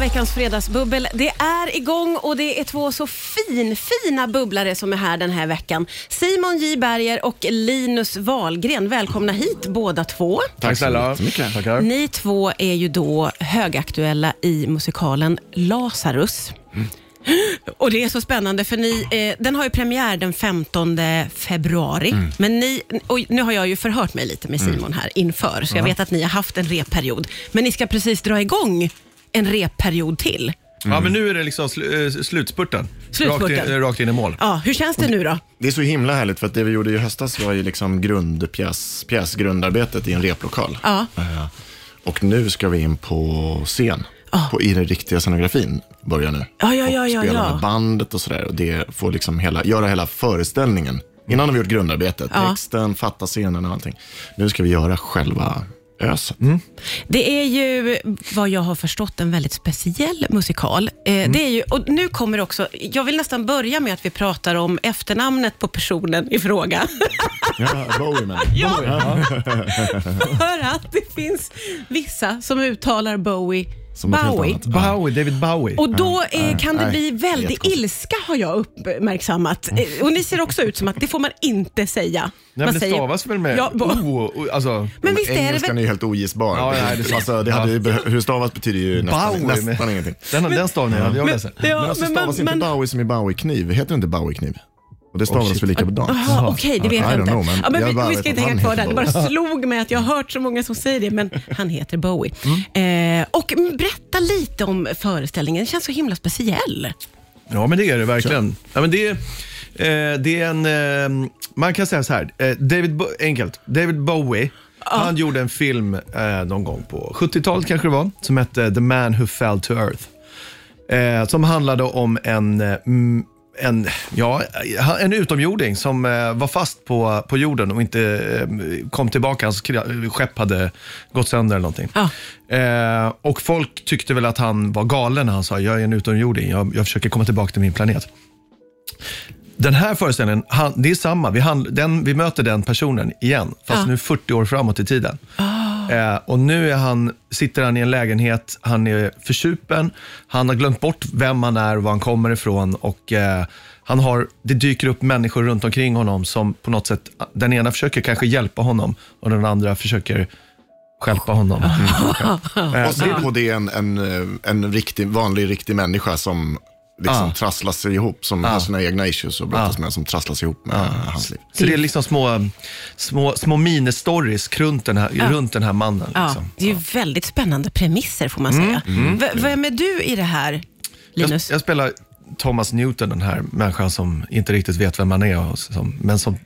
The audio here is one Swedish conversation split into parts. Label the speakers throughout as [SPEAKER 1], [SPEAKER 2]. [SPEAKER 1] veckans fredagsbubbel. Det är igång och det är två så finfina bubblare som är här den här veckan. Simon J Berger och Linus Wahlgren. Välkomna hit båda två.
[SPEAKER 2] Tack snälla. Tackar.
[SPEAKER 1] Ni två är ju då högaktuella i musikalen Lazarus. Och det är så spännande för ni, eh, den har ju premiär den 15 februari. Men ni, och nu har jag ju förhört mig lite med Simon här inför, så jag vet att ni har haft en repperiod. Men ni ska precis dra igång en repperiod till.
[SPEAKER 2] Ja, men nu är det liksom sl- eh, slutspurten.
[SPEAKER 1] Slutspurten.
[SPEAKER 2] Rakt in, eh, rakt in i mål.
[SPEAKER 1] Ja, hur känns det nu då?
[SPEAKER 3] Det är så himla härligt för att det vi gjorde i höstas var ju liksom grundpjäs, pjäsgrundarbetet i en replokal.
[SPEAKER 1] Ja.
[SPEAKER 3] Eh, Och nu ska vi in på scen. På, I den riktiga scenografin börjar nu.
[SPEAKER 1] Ja, ja, ja,
[SPEAKER 3] och
[SPEAKER 1] ja,
[SPEAKER 3] spela
[SPEAKER 1] ja.
[SPEAKER 3] med bandet och sådär. Och det får liksom hela, göra hela föreställningen. Innan har vi gjort grundarbetet,
[SPEAKER 1] Ja.
[SPEAKER 3] texten, fatta scenen och allting. Nu ska vi göra själva öset.
[SPEAKER 2] Mm.
[SPEAKER 1] Det är ju, vad jag har förstått, en väldigt speciell musikal. Eh,
[SPEAKER 3] Mm.
[SPEAKER 1] det är ju, och nu kommer också, jag vill nästan börja med att vi pratar om efternamnet på personen i fråga.
[SPEAKER 3] Ja, Bowie man.
[SPEAKER 1] För att det finns vissa som uttalar Bowie
[SPEAKER 3] Som något helt
[SPEAKER 1] Bowie.
[SPEAKER 3] annat.
[SPEAKER 2] Bowie, David Bowie.
[SPEAKER 1] Och då eh, kan det
[SPEAKER 3] nej,
[SPEAKER 1] bli väldigt
[SPEAKER 3] jättekonstigt.
[SPEAKER 1] ilska har jag uppmärksammat. Eh, och ni ser också ut som att det får man inte säga.
[SPEAKER 2] Nej,
[SPEAKER 1] man
[SPEAKER 2] men det
[SPEAKER 1] säger-
[SPEAKER 2] stavas väl med
[SPEAKER 1] Ja, bo-
[SPEAKER 2] O, och- och- alltså,
[SPEAKER 1] men visst är det
[SPEAKER 3] Engelskan
[SPEAKER 1] väl...
[SPEAKER 3] är ju helt ogissbar.
[SPEAKER 2] Ja, ja, det är
[SPEAKER 3] det,
[SPEAKER 2] sant.
[SPEAKER 3] alltså, det hade ju behö- hur stavas betyder ju nästan,
[SPEAKER 2] Bowie.
[SPEAKER 3] nästan
[SPEAKER 2] men-
[SPEAKER 3] ingenting.
[SPEAKER 2] Den, den stavningen hade jag
[SPEAKER 1] Men-
[SPEAKER 2] läst.
[SPEAKER 1] ja,
[SPEAKER 3] men alltså
[SPEAKER 1] men man-
[SPEAKER 3] stavas inte
[SPEAKER 1] man-
[SPEAKER 3] Bowie som i Bowie-kniv? Heter det inte Bowie-kniv? Och det
[SPEAKER 2] Oh,
[SPEAKER 3] stavas
[SPEAKER 2] shit.
[SPEAKER 3] väl likadant?
[SPEAKER 1] Jaha, Okej, det
[SPEAKER 3] I
[SPEAKER 1] vet
[SPEAKER 3] don't
[SPEAKER 1] jag inte.
[SPEAKER 3] know, men
[SPEAKER 1] ja, men
[SPEAKER 3] jag
[SPEAKER 1] vi,
[SPEAKER 3] bara
[SPEAKER 1] vi
[SPEAKER 3] vet
[SPEAKER 1] ska inte
[SPEAKER 3] att
[SPEAKER 1] hänga
[SPEAKER 3] han
[SPEAKER 1] kvar där.
[SPEAKER 3] heter
[SPEAKER 1] Det bara slog mig att jag har hört så många som säger det, men han heter Bowie. Eh, och mm, berätta lite om föreställningen. Den känns så himla speciell.
[SPEAKER 2] Ja, men det är det verkligen. Ja, men det, är, eh, det är en, eh, man kan säga så här, eh, David Bo- enkelt. David Bowie, han gjorde en film eh, någon gång på 70-talet kanske det var, som hette The Man Who Fell to Earth. Eh, som handlade om en, eh, mm, en, ja, eh, en utomjording som eh, var fast på, på jorden och inte eh, kom tillbaka. Hans kra- skepp hade gått sönder eller någonting.
[SPEAKER 1] Ja.
[SPEAKER 2] Eh, och folk tyckte väl att han var galen när han sa, jag är en utomjording, jag, jag försöker komma tillbaka till min planet. Den här föreställningen, han, det är samma. Vi, handl, den, vi möter den personen igen, fast
[SPEAKER 1] Ja.
[SPEAKER 2] nu 40 år framåt i tiden. Eh, och nu är han, sitter han i en lägenhet, han är försupen, han har glömt bort vem han är och var han kommer ifrån. Och, eh, han har, det dyker upp människor runt omkring honom som på något sätt, den ena försöker kanske hjälpa honom och den andra försöker stjälpa honom.
[SPEAKER 3] Bowie. Och, så, och det är en, en, eh, en riktig, vanlig riktig människa som liksom
[SPEAKER 2] Ah.
[SPEAKER 3] trasslar sig ihop, som har sina egna issues och brottas med, som trasslar sig ihop med hans liv.
[SPEAKER 2] Så
[SPEAKER 1] Typ.
[SPEAKER 2] det är liksom små, små, små ministories runt den här, runt den här mannen.
[SPEAKER 1] Ja,
[SPEAKER 2] Liksom.
[SPEAKER 1] det är ju väldigt spännande premisser får
[SPEAKER 3] Mm,
[SPEAKER 1] man säga. V- vem är du i det här,
[SPEAKER 2] Jag,
[SPEAKER 1] Linus?
[SPEAKER 2] jag spelar Thomas Newton, den här människan som inte riktigt vet vem man är, och som, men som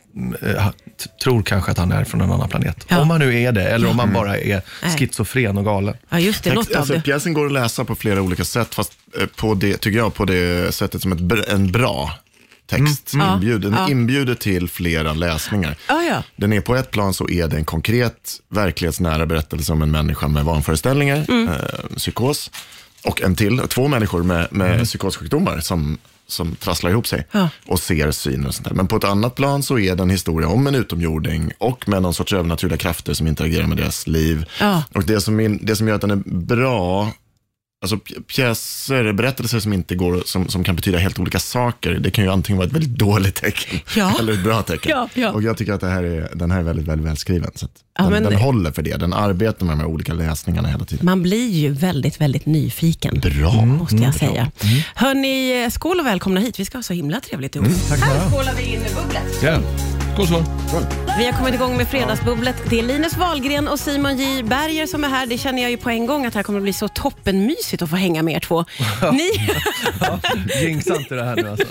[SPEAKER 2] eh, ha- t- tror kanske att han är från en annan planet.
[SPEAKER 1] Ja. Mm.
[SPEAKER 2] Om han nu är det, eller om han bara är
[SPEAKER 1] Nej.
[SPEAKER 2] schizofren och galen.
[SPEAKER 1] Ja, just det.
[SPEAKER 3] Text-
[SPEAKER 1] Något av
[SPEAKER 3] alltså,
[SPEAKER 1] det.
[SPEAKER 3] Pjäsen går att läsa på flera olika sätt, fast eh, på det, tycker jag, på det sättet som ett, br- en bra text inbjuder. Den inbjuder till flera läsningar.
[SPEAKER 1] Ja, ja.
[SPEAKER 3] Den är på ett plan så är det en konkret, verklighetsnära berättelse om en människa med vanföreställningar,
[SPEAKER 1] Mm.
[SPEAKER 3] eh, psykos, och en till, två människor med, med psykossjukdomar som som trasslar ihop sig
[SPEAKER 1] Mm. Ja.
[SPEAKER 3] och ser syner och sånt där. Men på ett annat plan så är det en historia om en utomjording och med någon sorts övernaturliga krafter som interagerar med deras liv.
[SPEAKER 1] Ja.
[SPEAKER 3] Och det som, min- det som gör att den är bra, alltså pj- pjäser, berättelser som inte går, som, som kan betyda helt olika saker, det kan ju antingen vara ett väldigt dåligt tecken
[SPEAKER 1] Ja.
[SPEAKER 3] eller ett bra tecken.
[SPEAKER 1] Ja, ja.
[SPEAKER 3] Och jag tycker att det här är, den här är väldigt väl välskriven. Så att
[SPEAKER 1] Ja,
[SPEAKER 3] den,
[SPEAKER 1] men-
[SPEAKER 3] den håller för det, den arbetar med de här olika läsningarna hela tiden. Mm.
[SPEAKER 1] Man blir ju väldigt, väldigt nyfiken.
[SPEAKER 3] Bra.
[SPEAKER 1] Måste jag säga.
[SPEAKER 3] mm.
[SPEAKER 1] Hörni, eh, skål och välkomna hit. Vi ska ha så himla trevligt ihop. Här skålar vi in i bubblet.
[SPEAKER 2] Ja. Skål, skål.
[SPEAKER 1] Vi har kommit igång med Fredagsbubblet. Det är Linus Wahlgren och Simon J Berger som är här. Det känner jag ju på en gång att det här kommer att bli så toppenmysigt att få hänga med er två. Ni,
[SPEAKER 2] Jinxa inte det här nu alltså.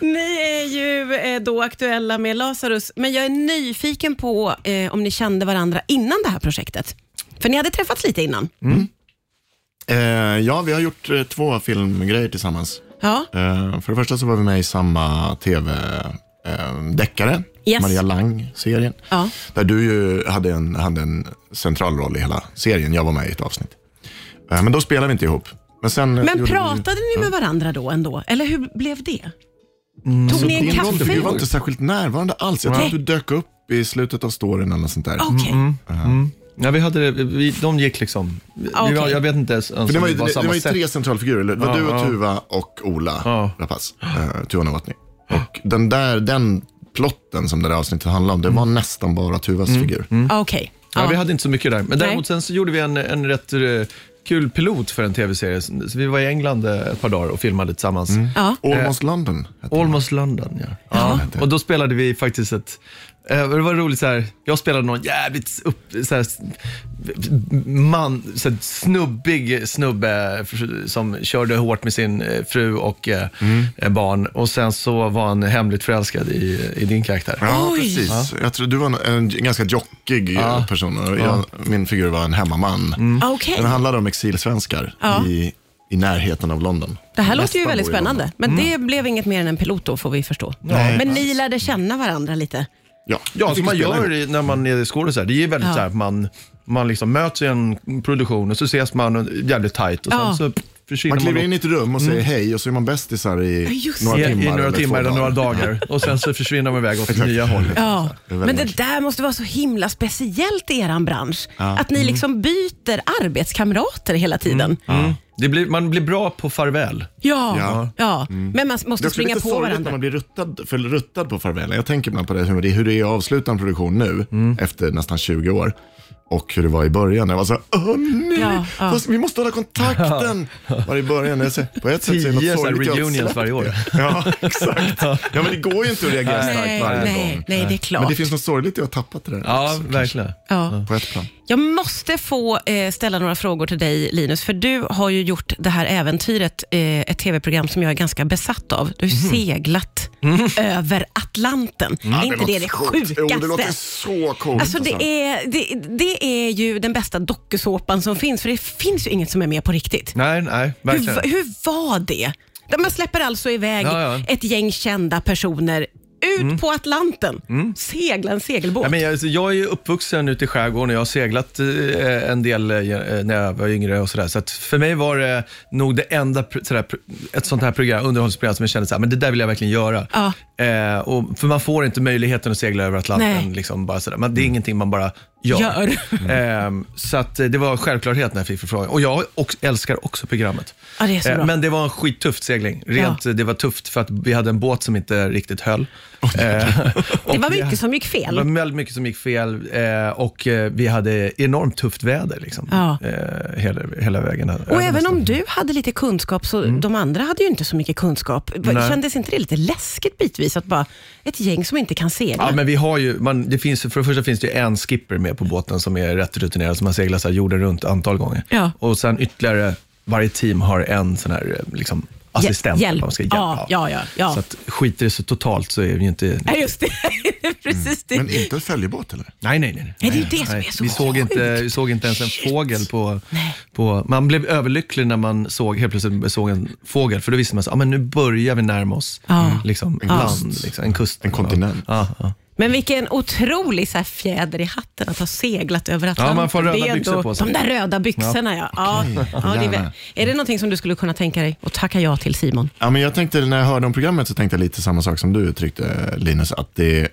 [SPEAKER 1] ni är ju eh, då aktuella med Lazarus, men jag är nyfiken på eh, om ni kände varandra innan det här projektet. För ni hade träffats lite innan.
[SPEAKER 3] Eh, ja, vi har gjort eh, två filmgrejer tillsammans.
[SPEAKER 1] Ja,
[SPEAKER 3] Eh, för det första så var vi med i samma tv-deckare,
[SPEAKER 1] Yes.
[SPEAKER 3] Maria Lang-serien.
[SPEAKER 1] ja.
[SPEAKER 3] Där du ju hade en, hade en central roll i hela serien. Jag var med i ett avsnitt. Eh, Men då spelade vi inte ihop. Men, sen eh,
[SPEAKER 1] Men pratade ni med varandra då ändå? Eller hur blev det? Tog ni en
[SPEAKER 3] kaffe?
[SPEAKER 1] kaffe?
[SPEAKER 3] Du var inte särskilt närvarande alls. Jag tror
[SPEAKER 1] Nej.
[SPEAKER 3] att du dök upp i slutet av storyn eller något sånt där.
[SPEAKER 1] Okej.
[SPEAKER 2] Ja, vi hade, det- vi, de gick liksom. Vi,
[SPEAKER 1] Ah,
[SPEAKER 2] vi var,
[SPEAKER 1] okej.
[SPEAKER 2] jag vet inte ens om
[SPEAKER 3] För det var ju,
[SPEAKER 2] vi var
[SPEAKER 3] det, det
[SPEAKER 2] samma
[SPEAKER 3] var ju
[SPEAKER 2] set.
[SPEAKER 3] tre centralfigurer. eller? Det var
[SPEAKER 2] Ja,
[SPEAKER 3] du och
[SPEAKER 2] ja.
[SPEAKER 3] Tuva och Ola
[SPEAKER 2] Ja.
[SPEAKER 3] Rapace. Eh, Tuva Novotny. Och den där, den plotten som det där avsnittet handlade om, det
[SPEAKER 2] Mm.
[SPEAKER 3] var nästan bara Tuvas figur.
[SPEAKER 1] Ah, Okej.
[SPEAKER 2] Ja,
[SPEAKER 1] Ja.
[SPEAKER 2] vi hade inte så mycket där. Men däremot
[SPEAKER 1] Nej.
[SPEAKER 2] sen så gjorde vi en, en rätt eh, kul pilot för en tv-serie. Så vi var i England eh, ett par dagar och filmade tillsammans.
[SPEAKER 1] Ja.
[SPEAKER 3] Almost
[SPEAKER 2] Eh,
[SPEAKER 3] London. hette den.
[SPEAKER 2] Almost London, ja. ja. Och då spelade vi faktiskt ett... eh, Det var roligt så här, jag spelade någon jävligt upp, så här, s- man, så här, snubbig snubbe f- som körde hårt med sin eh, fru och eh, eh, barn. Och sen så var han hemligt förälskad i, i din karaktär.
[SPEAKER 3] Ja,
[SPEAKER 1] Oj.
[SPEAKER 3] precis. Jag tror du var en, en ganska jockig eh, person. och Jag, Min figur var en hemmaman.
[SPEAKER 2] Mm.
[SPEAKER 1] Ah, Okej.
[SPEAKER 3] Den handlade om exilsvenskar
[SPEAKER 1] Ja.
[SPEAKER 3] i, i närheten av London.
[SPEAKER 1] Det här låter
[SPEAKER 3] Nästan
[SPEAKER 1] ju väldigt
[SPEAKER 3] bor i London. Mm.
[SPEAKER 1] spännande. Men det blev inget mer än en pilot då, får vi förstå.
[SPEAKER 3] Nej, Alltså.
[SPEAKER 1] Men ni lärde känna varandra lite.
[SPEAKER 3] Ja,
[SPEAKER 2] Ja,
[SPEAKER 3] Jag
[SPEAKER 2] som man
[SPEAKER 3] fick spela
[SPEAKER 2] gör
[SPEAKER 3] ihop.
[SPEAKER 2] i- när man är skådis. här. Det är väldigt
[SPEAKER 1] Ja.
[SPEAKER 2] så här, att man, man liksom möts i en produktion och så ses man och- jävligt tajt och sen
[SPEAKER 1] Ja.
[SPEAKER 2] så försvinner
[SPEAKER 3] Man
[SPEAKER 2] man,
[SPEAKER 3] kliver in i ett rum
[SPEAKER 2] Mm.
[SPEAKER 3] och säger hej och så är man bästisar i
[SPEAKER 1] just
[SPEAKER 3] några
[SPEAKER 2] i,
[SPEAKER 3] timmar.
[SPEAKER 2] i några
[SPEAKER 3] eller två
[SPEAKER 2] timmar eller några dagar och sen så försvinner man iväg åt nya håll.
[SPEAKER 1] Ja.
[SPEAKER 3] Det är
[SPEAKER 1] Men
[SPEAKER 3] väldigt
[SPEAKER 1] det
[SPEAKER 3] märkligt.
[SPEAKER 1] där måste vara så himla speciellt i eran bransch. Att
[SPEAKER 3] Mm.
[SPEAKER 1] ni liksom byter arbetskamrater hela tiden.
[SPEAKER 2] Mm. Det blir, man blir bra på farväl.
[SPEAKER 1] Ja, ja.
[SPEAKER 3] Ja. Mm.
[SPEAKER 1] men man
[SPEAKER 3] Det är
[SPEAKER 1] måste
[SPEAKER 3] också
[SPEAKER 1] springa
[SPEAKER 3] lite
[SPEAKER 1] på
[SPEAKER 3] sorgligt när
[SPEAKER 1] varandra.
[SPEAKER 3] man blir ruttad, för ruttad på farväl. Jag tänker ibland på det, hur det, hur det är att avsluta en produktion nu,
[SPEAKER 2] Mm.
[SPEAKER 3] efter nästan 20 år. Och hur det var i början. Jag var så här, åh nej,
[SPEAKER 1] Ja, ja.
[SPEAKER 3] Fast vi måste hålla kontakten. Var i början, jag säger, på ett sätt så är det
[SPEAKER 2] Tio
[SPEAKER 3] något
[SPEAKER 2] så här
[SPEAKER 3] sorgligt. jag har
[SPEAKER 2] reunions
[SPEAKER 3] släppt
[SPEAKER 2] varje år.
[SPEAKER 3] det. Ja, exakt. Ja, men det går ju inte att reagera
[SPEAKER 1] Nej,
[SPEAKER 3] starkt varje
[SPEAKER 1] nej,
[SPEAKER 3] gång.
[SPEAKER 1] nej, det är klart.
[SPEAKER 3] Men det finns något sorgligt i att ha tappat det där.
[SPEAKER 2] Ja,
[SPEAKER 3] också, kanske.
[SPEAKER 2] verkligen.
[SPEAKER 1] ja.
[SPEAKER 3] På ett plan.
[SPEAKER 1] Jag måste få eh, ställa några frågor till dig Linus, för du har ju gjort det här äventyret, eh, ett tv-program som jag är ganska besatt av. Du har
[SPEAKER 2] Mhm.
[SPEAKER 1] ju seglat över Atlanten. Är inte det det
[SPEAKER 3] coolt.
[SPEAKER 1] sjukaste?
[SPEAKER 3] Jo, det låter så coolt.
[SPEAKER 1] Alltså det är, det, det är ju den bästa dokusåpan som finns, för det finns ju inget som är med på riktigt.
[SPEAKER 2] Nej, nej, verkligen.
[SPEAKER 1] Hur, hur var det? Där Man släpper alltså iväg
[SPEAKER 2] Ja, ja.
[SPEAKER 1] ett gäng kända personer ut på Atlanten. Segla en segelbåt.
[SPEAKER 2] Mm. Ja, men jag, alltså, jag är ju uppvuxen ute i skärgården och jag har seglat eh, en del eh, när jag var yngre och sådär. Så att för mig var det nog det enda pr- sådär, pr- ett sånt här program, underhållsprogram som jag kände såhär, men det där vill jag verkligen göra.
[SPEAKER 1] Ja.
[SPEAKER 2] Eh, och, för man får inte möjligheten att segla över
[SPEAKER 1] Nej.
[SPEAKER 2] Atlanten. Liksom, bara sådär. Man, det är ingenting man bara gör.
[SPEAKER 1] Gör.
[SPEAKER 2] Eh, så att, eh, det var en självklarhet när jag fick förfrågan. Och jag också, älskar också programmet.
[SPEAKER 1] Ja, det är så bra.
[SPEAKER 2] Eh, men det var en skittuff segling. Rent, eh, Det var tufft för att vi hade en båt som inte riktigt höll. Eh,
[SPEAKER 1] det var
[SPEAKER 2] och vi-
[SPEAKER 1] mycket som gick
[SPEAKER 2] det
[SPEAKER 1] fel.
[SPEAKER 2] var väldigt mycket som gick fel eh, och eh, vi hade enormt tufft väder liksom,
[SPEAKER 1] Ja.
[SPEAKER 2] eh, hela, hela vägen.
[SPEAKER 1] Och även om du hade lite kunskap, så de andra hade ju inte så mycket kunskap. Va-
[SPEAKER 2] Mm. Nej.
[SPEAKER 1] Kändes inte det lite läskigt bitvis att bara ett gäng som inte kan segla?
[SPEAKER 2] Ja, men vi har ju, man, det finns, ju- för det första finns det ju en skipper med på båten som är rätt rutinerad, som har seglat så här jorden runt ett antal gånger.
[SPEAKER 1] Ja.
[SPEAKER 2] Och sen ytterligare, varje team har en sån här eh, liksom, assistent.
[SPEAKER 1] hjälp.
[SPEAKER 2] Man ska
[SPEAKER 1] Ja, ja, ja, ja.
[SPEAKER 2] Så att, skiter det sig totalt så är vi ju inte...
[SPEAKER 1] Ja, just det.
[SPEAKER 2] Mm.
[SPEAKER 1] Precis det.
[SPEAKER 3] Men inte ett följebåt eller?
[SPEAKER 2] Nej, nej, nej. nej.
[SPEAKER 1] Nej, det är ju det som är så
[SPEAKER 2] vi, såg
[SPEAKER 1] sjukt.
[SPEAKER 2] inte, vi såg inte ens en fågel på, på... Man blev överlycklig när man såg, helt plötsligt såg en fågel, för då visste man att ah, men nu börjar vi närma oss
[SPEAKER 1] Ja.
[SPEAKER 2] liksom, en, land, liksom, en kust.
[SPEAKER 3] En kontinent.
[SPEAKER 2] Ja, ja.
[SPEAKER 1] Men vilken otrolig så här, fjäder i hatten att ha seglat över Atlanten.
[SPEAKER 2] Ja, man får röda
[SPEAKER 1] Det är
[SPEAKER 2] byxor på sig.
[SPEAKER 1] De där röda byxorna ja. ja. ja det är, väl-
[SPEAKER 3] gärna.
[SPEAKER 1] är det någonting som du skulle kunna tänka dig att tacka ja till Simon?
[SPEAKER 3] Ja, men jag tänkte, när jag hörde om programmet så tänkte jag lite samma sak som du uttryckte Linus, att det,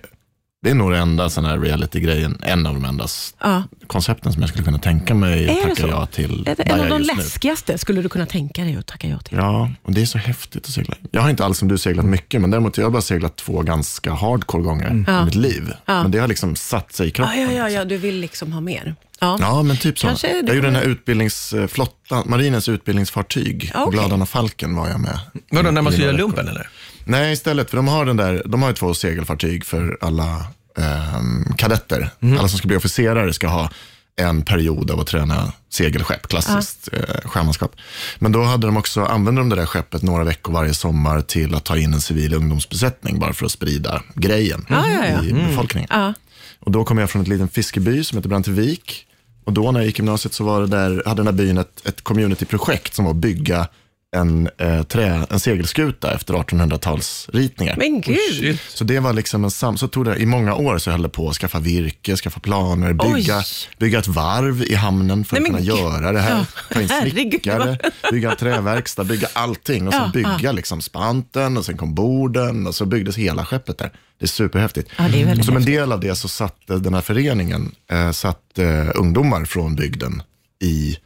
[SPEAKER 3] det är nog den enda sån här reality-grejen, en av de enda s-
[SPEAKER 1] Ja.
[SPEAKER 3] koncepten som jag skulle kunna tänka mig
[SPEAKER 1] det
[SPEAKER 3] att tacka
[SPEAKER 1] så?
[SPEAKER 3] ja till.
[SPEAKER 1] Är det
[SPEAKER 3] där
[SPEAKER 1] en
[SPEAKER 3] jag
[SPEAKER 1] av de
[SPEAKER 3] är just nu.
[SPEAKER 1] läskigaste skulle du kunna tänka dig att tacka ja till?
[SPEAKER 3] Ja, och det är så häftigt att segla. Jag har inte alls som du seglat mycket, men däremot jag har bara seglat två ganska hardcore gånger i mitt liv. Men det har liksom satt sig i
[SPEAKER 1] Ja,
[SPEAKER 3] kroppen.
[SPEAKER 1] Mm. ja, ja, ja du vill liksom ha mer. Ja.
[SPEAKER 3] Ja, men typ så.
[SPEAKER 1] Kanske det
[SPEAKER 3] Jag gjorde den här utbildningsflottan, marinens utbildningsfartyg.
[SPEAKER 1] Ja, okej.
[SPEAKER 3] Gladarna Falken var jag med.
[SPEAKER 2] Vadå, när man
[SPEAKER 3] I
[SPEAKER 2] ska göra
[SPEAKER 3] några
[SPEAKER 2] lumpen
[SPEAKER 3] veckor.
[SPEAKER 2] eller?
[SPEAKER 3] Nej, istället. För de har, den där, de har ju två segelfartyg för alla ehm, kadetter.
[SPEAKER 1] Mhm.
[SPEAKER 3] Alla som ska bli officerare ska ha en period av att träna segelskepp, klassiskt eh, sjömanskap. Men då hade de också, använde de det där skeppet några veckor varje sommar till att ta in en civil ungdomsbesättning bara för att sprida grejen
[SPEAKER 1] ja, ja.
[SPEAKER 3] i befolkningen. Och då kom jag från en liten fiskeby som heter Brantevik. Och då när jag gick i gymnasiet så var det där, hade den här byn ett, ett communityprojekt som var att bygga en, eh, trä, en segelskuta efter 1800-talsritningar.
[SPEAKER 1] Men gud.
[SPEAKER 2] Shit.
[SPEAKER 3] Så det var liksom en sam... Så tog det i många år så höll det på att skaffa virke, skaffa planer, bygga,
[SPEAKER 1] Oj.
[SPEAKER 3] bygga ett varv i hamnen för
[SPEAKER 1] Nej,
[SPEAKER 3] att
[SPEAKER 1] men
[SPEAKER 3] kunna
[SPEAKER 1] gud.
[SPEAKER 3] göra det här.
[SPEAKER 1] Ja,
[SPEAKER 3] Ta in
[SPEAKER 1] herregud,
[SPEAKER 3] snickare, bygga en träverkstad, bygga allting. Och sen
[SPEAKER 1] Ja,
[SPEAKER 3] bygga liksom spanten och sen kom borden och så byggdes hela skeppet där. Det är superhäftigt.
[SPEAKER 1] Ja, det är väldigt
[SPEAKER 3] Som en del av det så satte den här föreningen eh, satt, eh, ungdomar från bygden i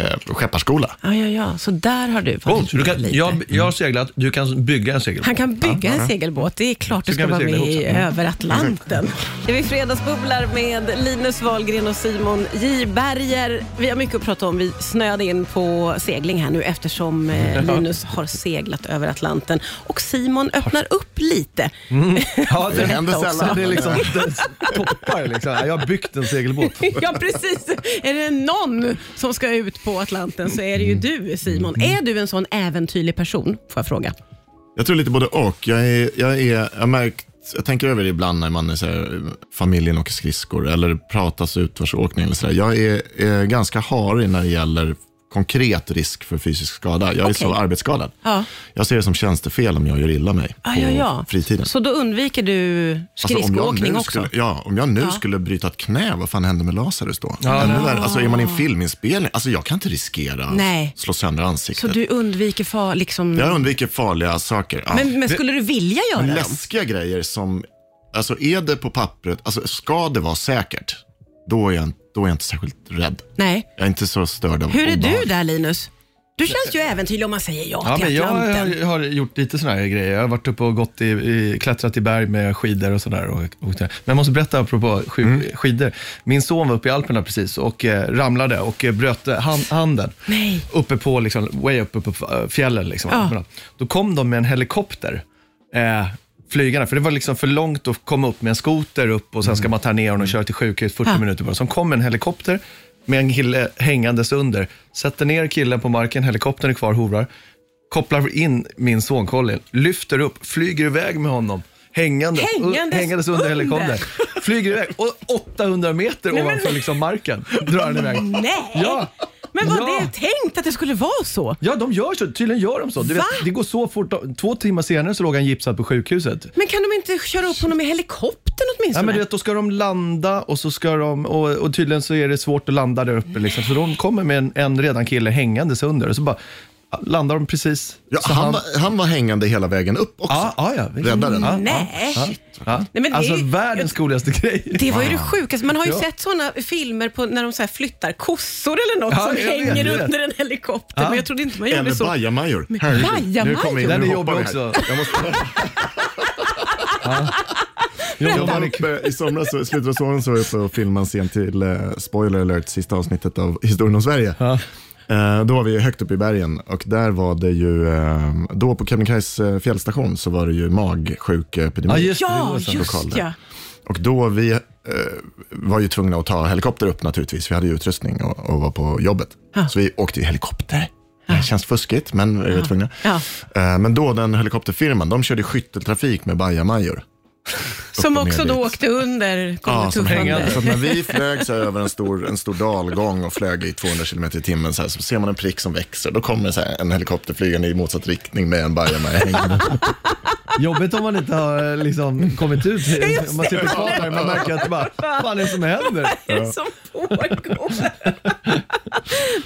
[SPEAKER 3] eh, skepparskola.
[SPEAKER 1] Ja, ja, ja. Så där har du
[SPEAKER 2] Coolt.
[SPEAKER 1] varit
[SPEAKER 2] Du kan,
[SPEAKER 1] lite.
[SPEAKER 2] jag, jag har seglat, du kan bygga en
[SPEAKER 1] Han
[SPEAKER 2] segelbåt.
[SPEAKER 1] kan bygga en segelbåt. Det är klart det
[SPEAKER 2] Så
[SPEAKER 1] ska
[SPEAKER 2] kan vi
[SPEAKER 1] vara med
[SPEAKER 2] segla ihop
[SPEAKER 1] i
[SPEAKER 2] sen.
[SPEAKER 1] över Atlanten. Det är vi fredagsbubblar med Linus Wahlgren och Simon J. Berger. Vi har mycket att prata om. Vi snöade in på segling här nu eftersom eh, Linus har seglat över Atlanten. Och Simon öppnar upp lite.
[SPEAKER 2] Mm. Ja,
[SPEAKER 3] Det händer
[SPEAKER 1] också.
[SPEAKER 3] sällan.
[SPEAKER 2] Det är liksom, det toppar liksom. Jag har byggt en segelbåt.
[SPEAKER 1] ja, precis. Är det någon som ska ut på Atlanten så är det ju du, Simon.
[SPEAKER 2] Mm.
[SPEAKER 1] Är du en sån äventyrlig person? Får jag fråga.
[SPEAKER 3] Jag tror lite både och. Jag, är, jag, är, jag, har märkt, jag tänker över det ibland när man är så här, familjen åker skridskor eller det pratas utförsåkning. Eller så där. Jag är, eh, ganska harig när det gäller konkret risk för fysisk skada. Jag är så arbetsskadad.
[SPEAKER 1] Ja.
[SPEAKER 3] Jag ser det som tjänstefel om jag gör illa mig
[SPEAKER 1] Ah,
[SPEAKER 3] på
[SPEAKER 1] ja, ja.
[SPEAKER 3] fritiden.
[SPEAKER 1] Så då undviker du
[SPEAKER 3] Alltså, om jag
[SPEAKER 1] skridskoåkning
[SPEAKER 3] nu
[SPEAKER 1] också?
[SPEAKER 3] Skulle, ja, om jag nu skulle bryta ett knä, vad fan händer med Lazarus då?
[SPEAKER 2] Ja.
[SPEAKER 3] Ännu värre. alltså, är man i en filminspelning, alltså, jag kan inte riskera
[SPEAKER 1] Nej.
[SPEAKER 3] att slå sönder ansiktet.
[SPEAKER 1] Så du undviker far, liksom...
[SPEAKER 3] Jag undviker farliga saker. Ja.
[SPEAKER 1] men, men skulle du vilja göra det?
[SPEAKER 3] Läskiga grejer som, alltså är det på pappret, alltså ska det vara säkert, då är jag, då är jag inte särskilt rädd.
[SPEAKER 1] Nej.
[SPEAKER 3] Jag är inte så störd av
[SPEAKER 1] Hur är
[SPEAKER 3] obehag.
[SPEAKER 1] du där Linus? Du känns ju äventyrlig om man säger ja,
[SPEAKER 2] Ja, men
[SPEAKER 1] till
[SPEAKER 2] jag
[SPEAKER 1] Atlanten.
[SPEAKER 2] har, har gjort lite sådana här grejer. Jag har varit uppe och gått i, i, klättrat i berg med skidor och sådär. Och, och, men jag måste berätta apropå sk, skidor. Min son var uppe i Alperna precis och eh, ramlade och eh, bröt eh, hand, handen.
[SPEAKER 1] Nej.
[SPEAKER 2] Uppe på, liksom, way up, uppe på eh, fjällen. Liksom,
[SPEAKER 1] Ja.
[SPEAKER 2] Alperna. Då kom de med en helikopter. Eh, flygarna, för det var liksom för långt att komma upp med en skoter upp och sen ska man ta ner honom och köra till sjukhus 40
[SPEAKER 1] Mm. Ja.
[SPEAKER 2] minuter bara. Så kom en helikopter med en kille hängandes under, sätter ner killen på marken, helikoptern är kvar, hovrar, kopplar in min son Colin, lyfter upp, flyger iväg med honom. Hängande,
[SPEAKER 1] Hängandes
[SPEAKER 2] hängandes under
[SPEAKER 1] under.
[SPEAKER 2] helikoptern. Flyger iväg och 800 meter
[SPEAKER 1] men-
[SPEAKER 2] ovanför liksom marken drar han iväg.
[SPEAKER 1] Nej!
[SPEAKER 2] Ja.
[SPEAKER 1] Men var
[SPEAKER 2] Ja.
[SPEAKER 1] det tänkt att det skulle vara så?
[SPEAKER 2] Ja, de gör så. Tydligen gör de så. Du vet,
[SPEAKER 1] Va?
[SPEAKER 2] det går så fort. Två timmar senare så låg han gipsad på sjukhuset.
[SPEAKER 1] Men kan de inte köra upp honom i helikoptern
[SPEAKER 2] Ja,
[SPEAKER 1] åtminstone?
[SPEAKER 2] men du vet, då ska de landa och, så ska de, och, och tydligen så är det svårt att landa där uppe. Liksom. Så de kommer med en, en redan kille hängandes under och så bara landar de precis.
[SPEAKER 3] Ja,
[SPEAKER 2] så
[SPEAKER 3] han, var, han var hängande hela vägen upp också.
[SPEAKER 2] Ja, ja, ja. Vilken-
[SPEAKER 3] Räddaren. Ja.
[SPEAKER 1] Nej.
[SPEAKER 2] Ja.
[SPEAKER 1] Nej, men det
[SPEAKER 2] alltså
[SPEAKER 1] är ju-
[SPEAKER 2] världens coolaste grej.
[SPEAKER 1] Det var ju det sjukaste. Man har ju
[SPEAKER 2] Ah. Ja.
[SPEAKER 1] sett sådana filmer på när de så här flyttar kossor eller något
[SPEAKER 2] Ja,
[SPEAKER 1] som
[SPEAKER 2] jag vet,
[SPEAKER 1] hänger
[SPEAKER 2] jag vet.
[SPEAKER 1] under en helikopter.
[SPEAKER 2] Ja.
[SPEAKER 1] Men jag trodde inte man gjorde
[SPEAKER 3] Eller
[SPEAKER 1] så.
[SPEAKER 3] bajamajor.
[SPEAKER 1] Bajamajor?
[SPEAKER 3] Nu kommer jag in,
[SPEAKER 2] Den är
[SPEAKER 3] nu
[SPEAKER 2] jobbig
[SPEAKER 3] hoppar vi här.
[SPEAKER 2] också.
[SPEAKER 3] Jag måste... Jag var uppe i somras, i slutet av sommaren så var jag uppe och filmade en scen till, eh, spoiler alert, sista avsnittet av Historien om Sverige. Eh, då var vi högt upp i bergen och där var det ju, eh, då på Kebnekaise eh, fjällstation så var det ju magsjukeepidemi.
[SPEAKER 2] Ja, just det. det
[SPEAKER 1] Ja,
[SPEAKER 2] var så.
[SPEAKER 3] lokal
[SPEAKER 1] just
[SPEAKER 3] där.
[SPEAKER 1] ja.
[SPEAKER 3] Och då vi eh, var ju tvungna att ta helikopter upp naturligtvis, vi hade ju utrustning och, och var på jobbet. Så vi åkte i helikopter. Det känns fuskigt, men vi var tvungna.
[SPEAKER 1] Ja.
[SPEAKER 3] Eh, Men då den helikopterfirman, de körde skytteltrafik med bajamajor.
[SPEAKER 1] Som
[SPEAKER 3] och ner
[SPEAKER 1] också då
[SPEAKER 3] dit.
[SPEAKER 1] åkte under, kom
[SPEAKER 3] Ja,
[SPEAKER 1] ja,
[SPEAKER 3] som hängande.
[SPEAKER 1] tuffande.
[SPEAKER 3] Så att när vi flög så här över en stor, en stor dalgång och flög i 200 km i timmen så, här, så ser man en prick som växer. Då kommer så här en helikopter flygande i motsatt riktning med en bajamaja hängande.
[SPEAKER 2] Jobbigt om man inte har eh, liksom, kommit ut.
[SPEAKER 1] just
[SPEAKER 2] Om man sitter kvar där och man märker att bara, fan är det som händer?
[SPEAKER 1] Vad är det som pågår?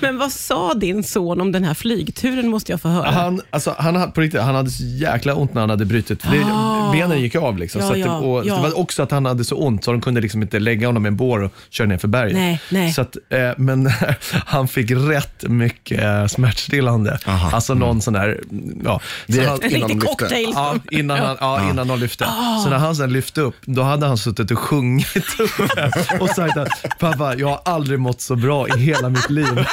[SPEAKER 1] Men vad sa din son om den här flygturen måste jag få höra.
[SPEAKER 2] Han, alltså, han, hade- på riktigt, han hade så jäkla ont när han hade brutit. för Det,
[SPEAKER 1] Ah.
[SPEAKER 2] Benen gick av. Liksom,
[SPEAKER 1] Ja,
[SPEAKER 2] så att det,
[SPEAKER 1] ja,
[SPEAKER 2] och,
[SPEAKER 1] ja.
[SPEAKER 2] det var också att han hade så ont så de kunde liksom inte lägga honom i en bår och köra ner för berget.
[SPEAKER 1] Nej, nej.
[SPEAKER 2] Så att, eh, men han fick rätt mycket eh, smärtstillande.
[SPEAKER 3] Aha. Mm.
[SPEAKER 2] Alltså någon sån där... Ja. Så
[SPEAKER 3] Direkt
[SPEAKER 2] han,
[SPEAKER 1] en
[SPEAKER 3] innan de
[SPEAKER 1] riktig
[SPEAKER 3] lyfte.
[SPEAKER 1] cocktail.
[SPEAKER 2] Ja, innan han, ja, innan de lyfte.
[SPEAKER 1] Ah.
[SPEAKER 2] Så när han sen lyfte upp, då hade han suttit och sjungit uppe och sagt att pappa, jag har aldrig mått så bra i hela mitt liv.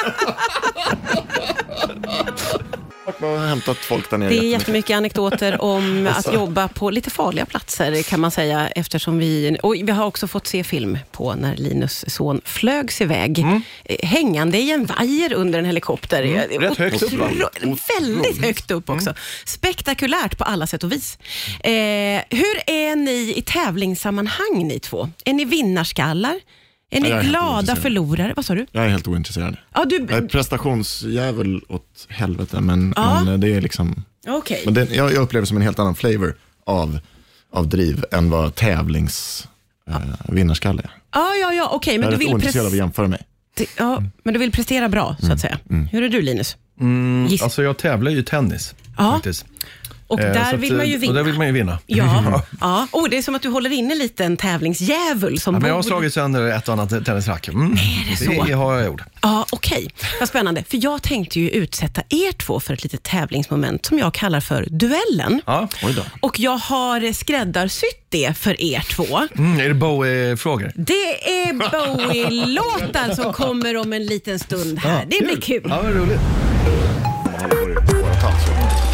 [SPEAKER 3] Man har hämtat folk där nere.
[SPEAKER 1] Det är jättemycket anekdoter om
[SPEAKER 3] Alltså.
[SPEAKER 1] att jobba på lite farliga platser kan man säga. Eftersom vi, och vi har också fått se film på när Linus son flögs iväg
[SPEAKER 3] Mm.
[SPEAKER 1] eh, hängande i en vajer under en helikopter. Eh,
[SPEAKER 2] Rätt högt upp, va?
[SPEAKER 1] Otro- Väldigt högt upp också.
[SPEAKER 3] Mm.
[SPEAKER 1] Spektakulärt på alla sätt och vis. Eh, hur är ni i tävlingssammanhang ni två? Är ni vinnarskallar? Är ni
[SPEAKER 3] Jag är helt
[SPEAKER 1] glada
[SPEAKER 3] ointresserad.
[SPEAKER 1] förlorare? Vad sa du?
[SPEAKER 3] Jag är helt ointresserad.
[SPEAKER 1] Ja, du...
[SPEAKER 3] Jag är
[SPEAKER 1] Okej.
[SPEAKER 3] prestationsjävel åt helvete, men,
[SPEAKER 1] Ja.
[SPEAKER 3] men det är liksom... Men den, jag, jag upplever som en helt annan flavor av, av driv än vad tävlings... Eh, vinnarskalle. är.
[SPEAKER 1] Ja, ja, ja, okej.
[SPEAKER 3] Jag
[SPEAKER 1] men,
[SPEAKER 3] är
[SPEAKER 1] du
[SPEAKER 3] rätt
[SPEAKER 1] vill
[SPEAKER 3] ointresserad av att
[SPEAKER 1] pres-
[SPEAKER 3] jämföra mig.
[SPEAKER 1] ja,
[SPEAKER 2] Mm.
[SPEAKER 1] men du vill prestera bra, så att säga. Hur är du, Linus? Giss.
[SPEAKER 2] Alltså jag tävlar ju i tennis.
[SPEAKER 1] Ja.
[SPEAKER 2] Faktiskt.
[SPEAKER 1] Och
[SPEAKER 2] Eh,
[SPEAKER 1] där
[SPEAKER 2] så att,
[SPEAKER 1] vill man ju
[SPEAKER 2] eh,
[SPEAKER 1] vinna.
[SPEAKER 2] Och där vill man ju vinna.
[SPEAKER 1] Ja. ja. Oh, det är som att du håller inne lite en tävlingsdjävul som
[SPEAKER 2] Ja, men jag har
[SPEAKER 1] bor-
[SPEAKER 2] slagit sönder ett och annat tennisrack. Mm. Är
[SPEAKER 1] det så?
[SPEAKER 2] Det har jag gjort.
[SPEAKER 1] Ja, okej. Vad spännande. För jag tänkte ju utsätta er två för ett litet tävlingsmoment som jag kallar för duellen.
[SPEAKER 2] Ja.
[SPEAKER 3] Oj då.
[SPEAKER 1] Och jag har eh, skräddarsytt det för er två.
[SPEAKER 2] Mm, är det Bowie-frågor?
[SPEAKER 1] Det är Bowie-låtar som kommer om en liten stund här. Det blir kul.
[SPEAKER 2] Ja, vad roligt.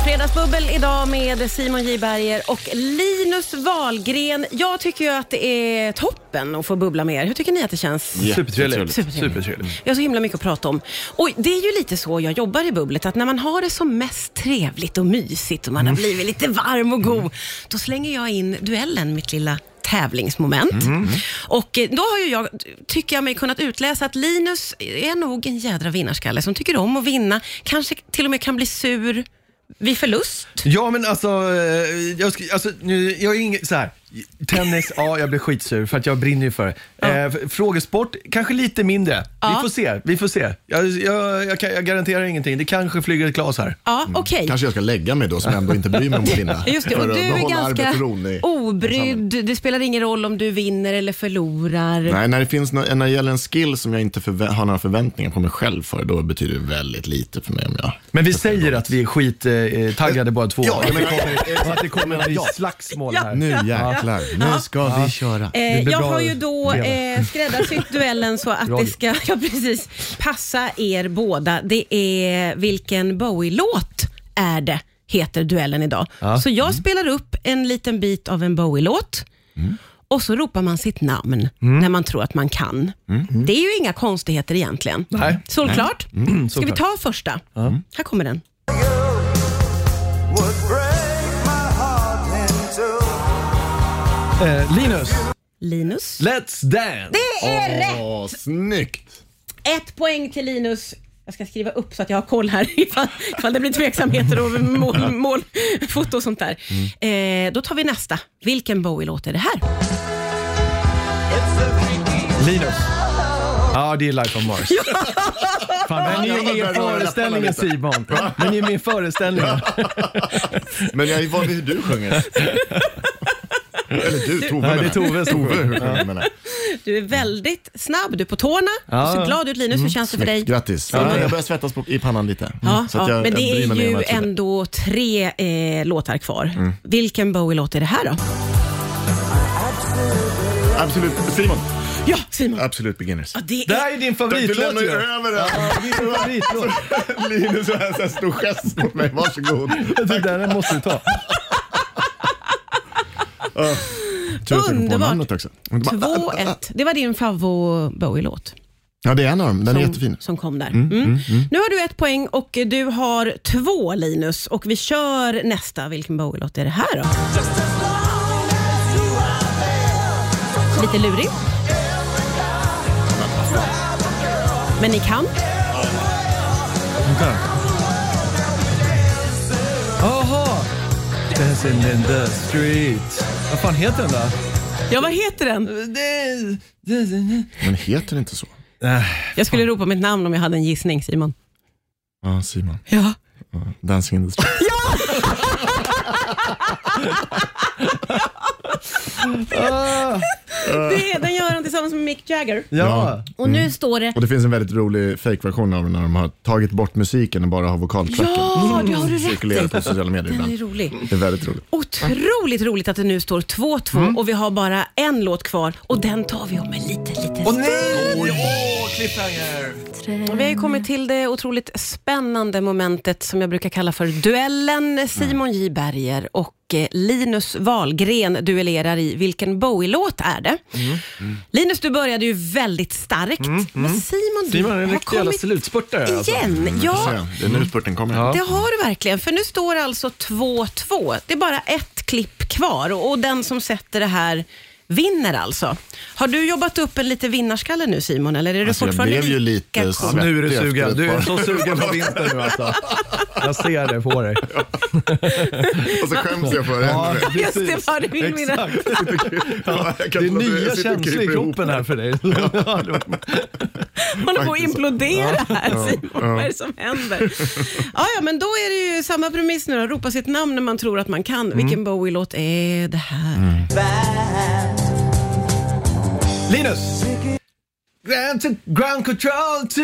[SPEAKER 1] Fredagsbubbel idag med Simon J Berger och Linus Wahlgren. Jag tycker ju att det är toppen att få bubbla med er. Hur tycker ni att det känns?
[SPEAKER 2] Supertrevligt.
[SPEAKER 1] Supertrevligt.
[SPEAKER 2] Supertrevligt.
[SPEAKER 1] Vi har så himla mycket att prata om. Och det är ju lite så jag jobbar i bubblet, att när man har det som mest trevligt och mysigt och man
[SPEAKER 3] Mm.
[SPEAKER 1] har blivit lite varm och god, då slänger jag in duellen, mitt lilla tävlingsmoment.
[SPEAKER 3] Mm.
[SPEAKER 1] Och eh, då har ju jag, tycker jag mig kunnat utläsa att Linus är nog en jädra vinnarskalle som tycker om att vinna, kanske till och med kan bli sur vid förlust.
[SPEAKER 2] Ja, men alltså, eh, jag, sk- alltså nu, jag är ingen, så här. Tennis, ja jag blir skitsur för att jag brinner ju för det. Eh, f- frågesport, kanske lite mindre.
[SPEAKER 1] Ja.
[SPEAKER 2] Vi får se, vi får se. Jag, jag, jag, kan- jag garanterar ingenting. Det kanske flyger ett glas här.
[SPEAKER 1] Ja, okej.
[SPEAKER 3] Mm. Kanske jag ska lägga mig då, som ändå inte bryr mig om att vinna.
[SPEAKER 1] Just det,
[SPEAKER 3] för
[SPEAKER 1] och
[SPEAKER 3] att
[SPEAKER 1] du är
[SPEAKER 3] behålla
[SPEAKER 1] ganska
[SPEAKER 3] arbetsron i-
[SPEAKER 1] obrydd. Det spelar ingen roll om du vinner eller förlorar.
[SPEAKER 3] Nej, när det, finns nå- när det gäller en skill som jag inte förvä- har några förväntningar på mig själv för, då betyder det väldigt lite för mig om jag...
[SPEAKER 2] Men vi säger att vi är skittaggade eh, taggade båda två.
[SPEAKER 3] Ja, jag menar-
[SPEAKER 2] kommer, att det kommer att bli slagsmål här.
[SPEAKER 3] Nu jäklar, nu ska vi köra.
[SPEAKER 1] Eh,
[SPEAKER 2] Det blir
[SPEAKER 1] jag
[SPEAKER 2] bra
[SPEAKER 1] har ju då
[SPEAKER 2] delar.
[SPEAKER 1] eh, skräddarsytt duellen så att det
[SPEAKER 2] Radio.
[SPEAKER 1] ska ja, precis, passa er båda. Det är vilken Bowie-låt är det, heter duellen idag. Så jag
[SPEAKER 2] Mm.
[SPEAKER 1] spelar upp en liten bit av en Bowie-låt och så ropar man sitt namn
[SPEAKER 2] Mm.
[SPEAKER 1] när man tror att man kan. Det är ju inga konstigheter egentligen.
[SPEAKER 2] Nej. Mm.
[SPEAKER 1] Solklart. Ska vi
[SPEAKER 2] Såklart.
[SPEAKER 1] ta första? Här kommer den.
[SPEAKER 4] would break my heart in two.
[SPEAKER 2] Eh, Linus,
[SPEAKER 1] Linus.
[SPEAKER 2] let's dance!
[SPEAKER 1] Det är rätt!
[SPEAKER 3] Åh, snyggt!
[SPEAKER 1] Ett poäng till Linus. Jag ska skriva upp så att jag har koll här ifall, ifall det blir tveksamheter och mål, mål, foto och sånt där.
[SPEAKER 3] Mm.
[SPEAKER 1] Eh, då tar vi nästa. Vilken Bowie-låt är det här?
[SPEAKER 2] Linus. Ja, det är Life on Mars. Fan, men ni
[SPEAKER 3] Ja,
[SPEAKER 2] är
[SPEAKER 3] jag
[SPEAKER 2] med i
[SPEAKER 3] börjar läpparna
[SPEAKER 2] föreställningen
[SPEAKER 3] lite.
[SPEAKER 2] Simon. Men ni är med i föreställningen.
[SPEAKER 3] Men jag är van vid hur du sjunger. Eller du, Tove
[SPEAKER 2] Ja, det är
[SPEAKER 3] menar jag.
[SPEAKER 2] Tove som
[SPEAKER 3] Tove hur sjunger menar jag.
[SPEAKER 1] Du är väldigt snabb, du är på tårna.
[SPEAKER 2] Ja.
[SPEAKER 1] Du ser glad ut Linus, hur känns det för dig?
[SPEAKER 3] Mm. Snyggt, grattis. Ja, jag börjar svettas på, i pannan lite. Mm.
[SPEAKER 1] Ja,
[SPEAKER 3] Så att
[SPEAKER 1] ja,
[SPEAKER 3] jag-
[SPEAKER 1] men det
[SPEAKER 3] jag bryr
[SPEAKER 1] är
[SPEAKER 3] mig mer än
[SPEAKER 1] ju
[SPEAKER 3] vad jag trodde. Mm.
[SPEAKER 1] ändå tre eh, låtar kvar. Vilken Bowie-låt är det här då?
[SPEAKER 3] Absolut, Simon.
[SPEAKER 1] Ja, Simon.
[SPEAKER 3] Absolut beginners.
[SPEAKER 1] Ja, det
[SPEAKER 2] Det
[SPEAKER 1] är
[SPEAKER 2] här är din
[SPEAKER 3] Du
[SPEAKER 2] favoritlåt
[SPEAKER 3] lämnar ju
[SPEAKER 2] ju.
[SPEAKER 3] över den.
[SPEAKER 2] Din favoritlåt.
[SPEAKER 3] Linus har en sån här stor gest mot mig. Varsågod.
[SPEAKER 2] Den där måste du ta.
[SPEAKER 3] Tur att jag kom på
[SPEAKER 1] Underbart.
[SPEAKER 3] namnet också.
[SPEAKER 1] 2-1. Det var din favvo-Bowie-låt.
[SPEAKER 3] Ja, det är en av dem. Den är
[SPEAKER 1] som-
[SPEAKER 3] jättefin.
[SPEAKER 1] som kom där. Mm. Nu har du ett poäng och eh, du har två Linus och vi kör nästa. Vilken Bowie-låt är det här då? Lite lurig. Men ni kan.
[SPEAKER 2] Jaha. Dancing in the street. Vad fan heter den då?
[SPEAKER 1] Ja, vad heter den?
[SPEAKER 3] Men heter den inte så?
[SPEAKER 1] Jag skulle ropa mitt namn om jag hade en gissning, Simon.
[SPEAKER 3] Ja, Simon.
[SPEAKER 1] Ja.
[SPEAKER 3] Dancing in the street.
[SPEAKER 1] Det, den gör han tillsammans med Mick Jagger.
[SPEAKER 2] Ja.
[SPEAKER 1] Och nu står det...
[SPEAKER 3] Och det finns en väldigt rolig fake-version av den när de har tagit bort musiken och bara har vokaltracken.
[SPEAKER 1] Ja, det har du
[SPEAKER 3] Cirkulerar
[SPEAKER 1] rätt
[SPEAKER 3] på
[SPEAKER 1] i.
[SPEAKER 3] sociala medier
[SPEAKER 1] Den är
[SPEAKER 3] ibland.
[SPEAKER 1] rolig.
[SPEAKER 3] Det är väldigt roligt.
[SPEAKER 1] Otroligt roligt att det nu står 2-2
[SPEAKER 2] Mm.
[SPEAKER 1] och vi har bara en låt kvar och den tar vi om en liten, liten stund.
[SPEAKER 2] Åh nej! Åh, cliffhanger!
[SPEAKER 1] Vi har ju kommit till det otroligt spännande momentet som jag brukar kalla för duellen. Simon J Berger och eh, Linus Wahlgren duellerar i Vilken Bowie-låt är det?
[SPEAKER 2] Mm.
[SPEAKER 1] Mm. Linus, du började ju väldigt starkt, men Simon, du
[SPEAKER 2] Simon är en
[SPEAKER 1] har
[SPEAKER 2] riktig jävla
[SPEAKER 1] kommit
[SPEAKER 2] slutspurtare. Alltså.
[SPEAKER 1] igen. Ja,
[SPEAKER 3] Så, Det är nu spurten kommer.
[SPEAKER 1] det har du verkligen, för nu står det alltså 2-2. Det är bara ett klipp kvar och, och den som sätter det här vinner alltså. Har du jobbat upp en lite vinnarskalle nu Simon, eller är du
[SPEAKER 3] Alltså, jag
[SPEAKER 1] fortfarande
[SPEAKER 3] blev ju lite
[SPEAKER 1] lika
[SPEAKER 3] svett.
[SPEAKER 1] cool?
[SPEAKER 2] Nu är du
[SPEAKER 3] Efter ett
[SPEAKER 2] sugen. Du är
[SPEAKER 3] par-
[SPEAKER 2] så sugen på vinter nu alltså. Jag ser det på dig.
[SPEAKER 3] Och så skäms jag för det ännu mer.
[SPEAKER 1] Just det, var det min vinare.
[SPEAKER 2] Exakt.
[SPEAKER 3] Ja, jag kan
[SPEAKER 2] Det är
[SPEAKER 3] inte låta- jag
[SPEAKER 2] nya
[SPEAKER 3] sitter
[SPEAKER 2] känslor
[SPEAKER 3] och
[SPEAKER 2] i
[SPEAKER 3] kryper ihop.
[SPEAKER 2] kroppen här för dig.
[SPEAKER 1] håller på att
[SPEAKER 3] Faktiskt.
[SPEAKER 1] implodera här Simon. Vad är det som händer? Ja, ja, men då är det ju samma premiss nu då. Ropa sitt namn när man tror att man kan.
[SPEAKER 2] Mm.
[SPEAKER 1] Vilken Bowie-låt är det här?
[SPEAKER 2] Linus! Ground, to, ground control to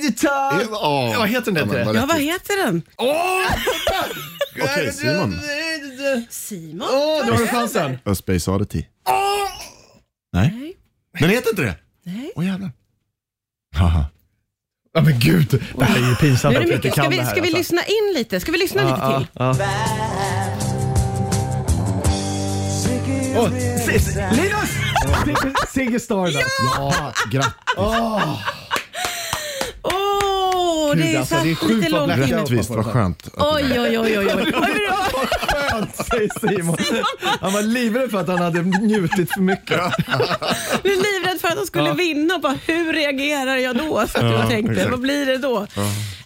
[SPEAKER 2] digital.
[SPEAKER 3] Ja.
[SPEAKER 2] Vad heter den
[SPEAKER 3] Ja, men
[SPEAKER 2] där?
[SPEAKER 3] vad
[SPEAKER 1] Ja, vad heter den?
[SPEAKER 2] Åh!
[SPEAKER 3] Okej, Simon.
[SPEAKER 1] Simon?
[SPEAKER 2] Åh, nu har du
[SPEAKER 1] Tar över.
[SPEAKER 2] chansen.
[SPEAKER 3] A Space Oddity. Nej. Den heter inte det?
[SPEAKER 1] Nej.
[SPEAKER 3] Åh jävlar. Haha.
[SPEAKER 2] Ja men gud, det här är ju pinsamt
[SPEAKER 1] Nu är
[SPEAKER 2] att
[SPEAKER 1] det
[SPEAKER 2] vi inte
[SPEAKER 1] mycket. Ska
[SPEAKER 2] kan
[SPEAKER 1] vi,
[SPEAKER 2] det här.
[SPEAKER 1] ska vi
[SPEAKER 2] alltså.
[SPEAKER 1] lyssna in lite? Ska vi lyssna lite till?
[SPEAKER 2] Ja, ja. Åh, si- si- Linus! Sig- Sigge Stardust.
[SPEAKER 3] Ja, grattis.
[SPEAKER 1] Åh, det
[SPEAKER 2] Gud,
[SPEAKER 1] är
[SPEAKER 2] alltså, det är
[SPEAKER 1] satt
[SPEAKER 2] sjukt
[SPEAKER 1] lite
[SPEAKER 2] vad
[SPEAKER 1] långt
[SPEAKER 2] Black
[SPEAKER 1] inne.
[SPEAKER 2] Jack-
[SPEAKER 3] Rättvist, vad skönt. att-
[SPEAKER 1] Oj, oj, oj, oj. oj.
[SPEAKER 2] Skönt, säger Simon. Han var livrädd för att han hade njutit för mycket.
[SPEAKER 1] Jag blev livrädd för att de skulle vinna. och Bara, hur reagerar jag då? Så att jag tänkte,
[SPEAKER 3] exakt.
[SPEAKER 1] vad blir det då?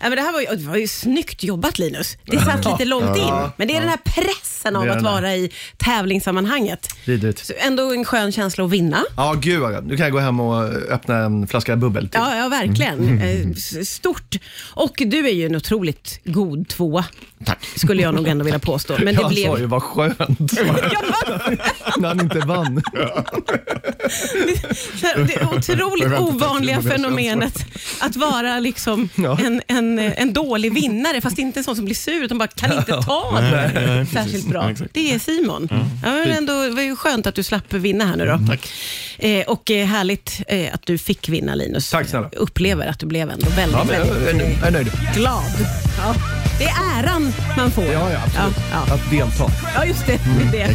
[SPEAKER 1] Ja, men det här var ju, det var ju snyggt jobbat Linus. Det satt lite långt in. Men det är den här pressen av
[SPEAKER 2] Det är
[SPEAKER 1] att
[SPEAKER 2] den här.
[SPEAKER 1] vara i tävlingssammanhanget.
[SPEAKER 2] Vidrigt.
[SPEAKER 1] Så ändå en skön känsla att vinna.
[SPEAKER 2] Ja, gud vad gött. Nu kan jag gå hem och öppna en flaska bubbel till.
[SPEAKER 1] Ja, ja verkligen.
[SPEAKER 2] Mm.
[SPEAKER 1] Eh, s- Stort. Och du är ju en otroligt god tvåa.
[SPEAKER 3] Tack.
[SPEAKER 1] Skulle jag nog ändå vilja påstå. Men det
[SPEAKER 2] jag sa ju
[SPEAKER 1] blev...
[SPEAKER 2] vad skönt när han inte vann.
[SPEAKER 1] Det
[SPEAKER 3] Jag
[SPEAKER 1] otroligt
[SPEAKER 3] väntar på
[SPEAKER 1] ovanliga
[SPEAKER 3] att det blir
[SPEAKER 1] fenomenet att vara liksom
[SPEAKER 2] Ja.
[SPEAKER 1] en, en, en dålig vinnare, fast inte en sån som blir sur utan bara kan inte ta det särskilt bra.
[SPEAKER 3] Ja, exakt.
[SPEAKER 1] Det är Simon.
[SPEAKER 2] Mm.
[SPEAKER 1] Ja, men ändå, det var ju skönt att du slapp vinna här nu då. Eh, och eh, härligt eh, att du fick vinna Linus.
[SPEAKER 2] Tack snälla.
[SPEAKER 1] Jag upplever att du blev ändå väldigt,
[SPEAKER 2] Ja, men jag är nöjd. Jag är nöjd.
[SPEAKER 1] väldigt glad. Ja. Det är äran man får.
[SPEAKER 2] Ja, ja, absolut. Mm.
[SPEAKER 1] Ja, ja.
[SPEAKER 2] Att delta.
[SPEAKER 1] ja just det. det, är det.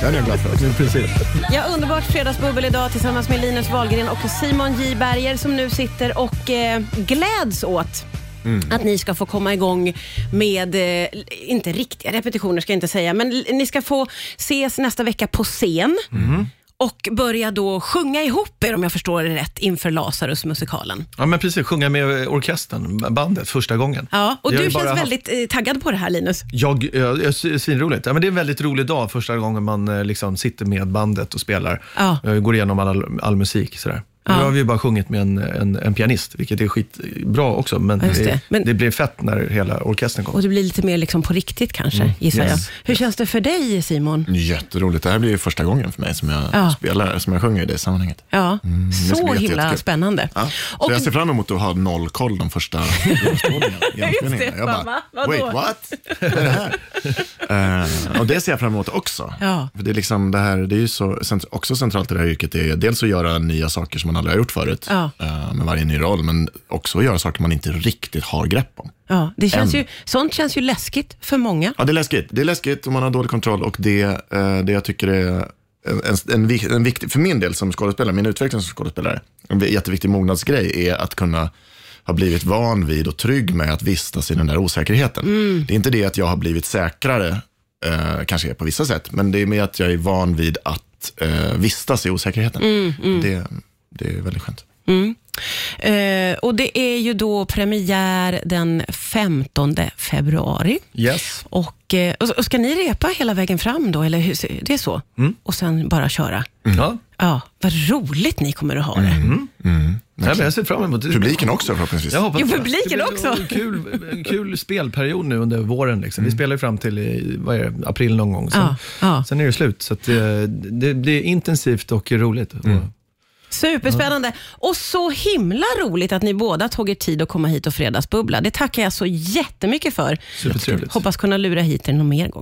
[SPEAKER 3] Den är jag glad för.
[SPEAKER 2] Nu, precis.
[SPEAKER 1] Ja, underbart fredagsbubbel idag tillsammans med Linus Wahlgren och Simon J Berger som nu sitter och eh, gläds åt
[SPEAKER 3] Mm.
[SPEAKER 1] att ni ska få komma igång med, eh, inte riktiga repetitioner ska jag inte säga, men l- ni ska få ses nästa vecka på scen.
[SPEAKER 3] Mm.
[SPEAKER 1] Och börja då sjunga ihop er om jag förstår det rätt inför Lazarus-musikalen.
[SPEAKER 2] Ja, men precis. Sjunga med orkestern, bandet, första gången.
[SPEAKER 1] Ja, och
[SPEAKER 2] Jag har
[SPEAKER 1] du
[SPEAKER 2] ju
[SPEAKER 1] känns
[SPEAKER 2] bara haft-
[SPEAKER 1] väldigt eh, taggad på det här Linus.
[SPEAKER 2] Jag, eh, jag, jag sy- svinroligt. Ja, men det är en väldigt rolig dag första gången man eh, liksom sitter med bandet och spelar.
[SPEAKER 1] Ja.
[SPEAKER 2] Eh, Går igenom all, all musik. Sådär. Nu har vi ju bara sjungit med en, en, en pianist, vilket är skitbra också. Men
[SPEAKER 1] Ja, just
[SPEAKER 2] det,
[SPEAKER 1] det. Men-
[SPEAKER 2] blir fett när hela orkestern kommer.
[SPEAKER 1] Och det blir lite mer liksom på riktigt kanske,
[SPEAKER 3] Mm.
[SPEAKER 1] gissar
[SPEAKER 2] Yes.
[SPEAKER 1] jag. Hur känns det för dig Simon?
[SPEAKER 3] Jätteroligt. Det här blir ju första gången för mig som jag
[SPEAKER 1] Ja.
[SPEAKER 3] spelar, som jag sjunger i det sammanhanget.
[SPEAKER 1] Ja,
[SPEAKER 3] Mm, ska bli
[SPEAKER 1] så
[SPEAKER 3] jätte-
[SPEAKER 1] himla
[SPEAKER 3] jättekul.
[SPEAKER 1] spännande.
[SPEAKER 3] Ja.
[SPEAKER 1] Och-
[SPEAKER 3] Så jag ser fram emot att ha noll koll de första genomspelningarna. genomspelningarna. Jag
[SPEAKER 1] mamma.
[SPEAKER 3] bara,
[SPEAKER 1] Vadå?
[SPEAKER 3] wait what? Vad är det här? Eh, och det ser jag fram emot också.
[SPEAKER 1] Ja.
[SPEAKER 3] För det är, liksom det här, det är ju så, cent- också centralt i det här yrket, är dels att göra nya saker som man aldrig har gjort förut,
[SPEAKER 1] Ja.
[SPEAKER 3] eh, med varje ny roll, men också att göra saker man inte riktigt har grepp om.
[SPEAKER 1] Ja, det känns
[SPEAKER 3] Än.
[SPEAKER 1] ju, sånt känns ju läskigt för många.
[SPEAKER 3] Ja, det är läskigt. Det är läskigt och man har dålig kontroll och det, eh, det jag tycker är en, en, en, vik- en viktig, för min del som skådespelare, min utveckling som skådespelare, en jätteviktig mognadsgrej är att kunna ha blivit van vid och trygg med att vistas i den där osäkerheten. Det är inte det att jag har blivit säkrare, eh, kanske är på vissa sätt, men det är mer att jag är van vid att eh, vistas i osäkerheten. Det, det är väldigt skönt.
[SPEAKER 1] Mm. Eh, och det är ju då premiär den 15 februari.
[SPEAKER 2] Yes.
[SPEAKER 1] Och, eh, och, och ska ni repa hela vägen fram då, eller hur, ser- det är så? Och sen bara köra?
[SPEAKER 2] Ja.
[SPEAKER 1] Ja, vad roligt ni kommer att ha det.
[SPEAKER 2] Nej, men jag ser fram emot det.
[SPEAKER 3] Publiken också förhoppningsvis.
[SPEAKER 2] Jag hoppas
[SPEAKER 1] Jo,
[SPEAKER 2] det.
[SPEAKER 1] publiken
[SPEAKER 2] det blir
[SPEAKER 1] också. Mm.
[SPEAKER 2] En kul, en kul spelperiod nu under våren. Liksom. Vi spelar ju fram till i, vad är det, april någon gång. Sen,
[SPEAKER 1] Ja, ja.
[SPEAKER 2] sen är det slut. Så att, eh, det blir intensivt och roligt. Och,
[SPEAKER 1] Superspännande. Och så himla roligt att ni båda tog er tid att komma hit och fredagsbubbla. Det tackar jag så jättemycket för.
[SPEAKER 2] supertrevligt.
[SPEAKER 1] Hoppas kunna lura hit er någon mer gång.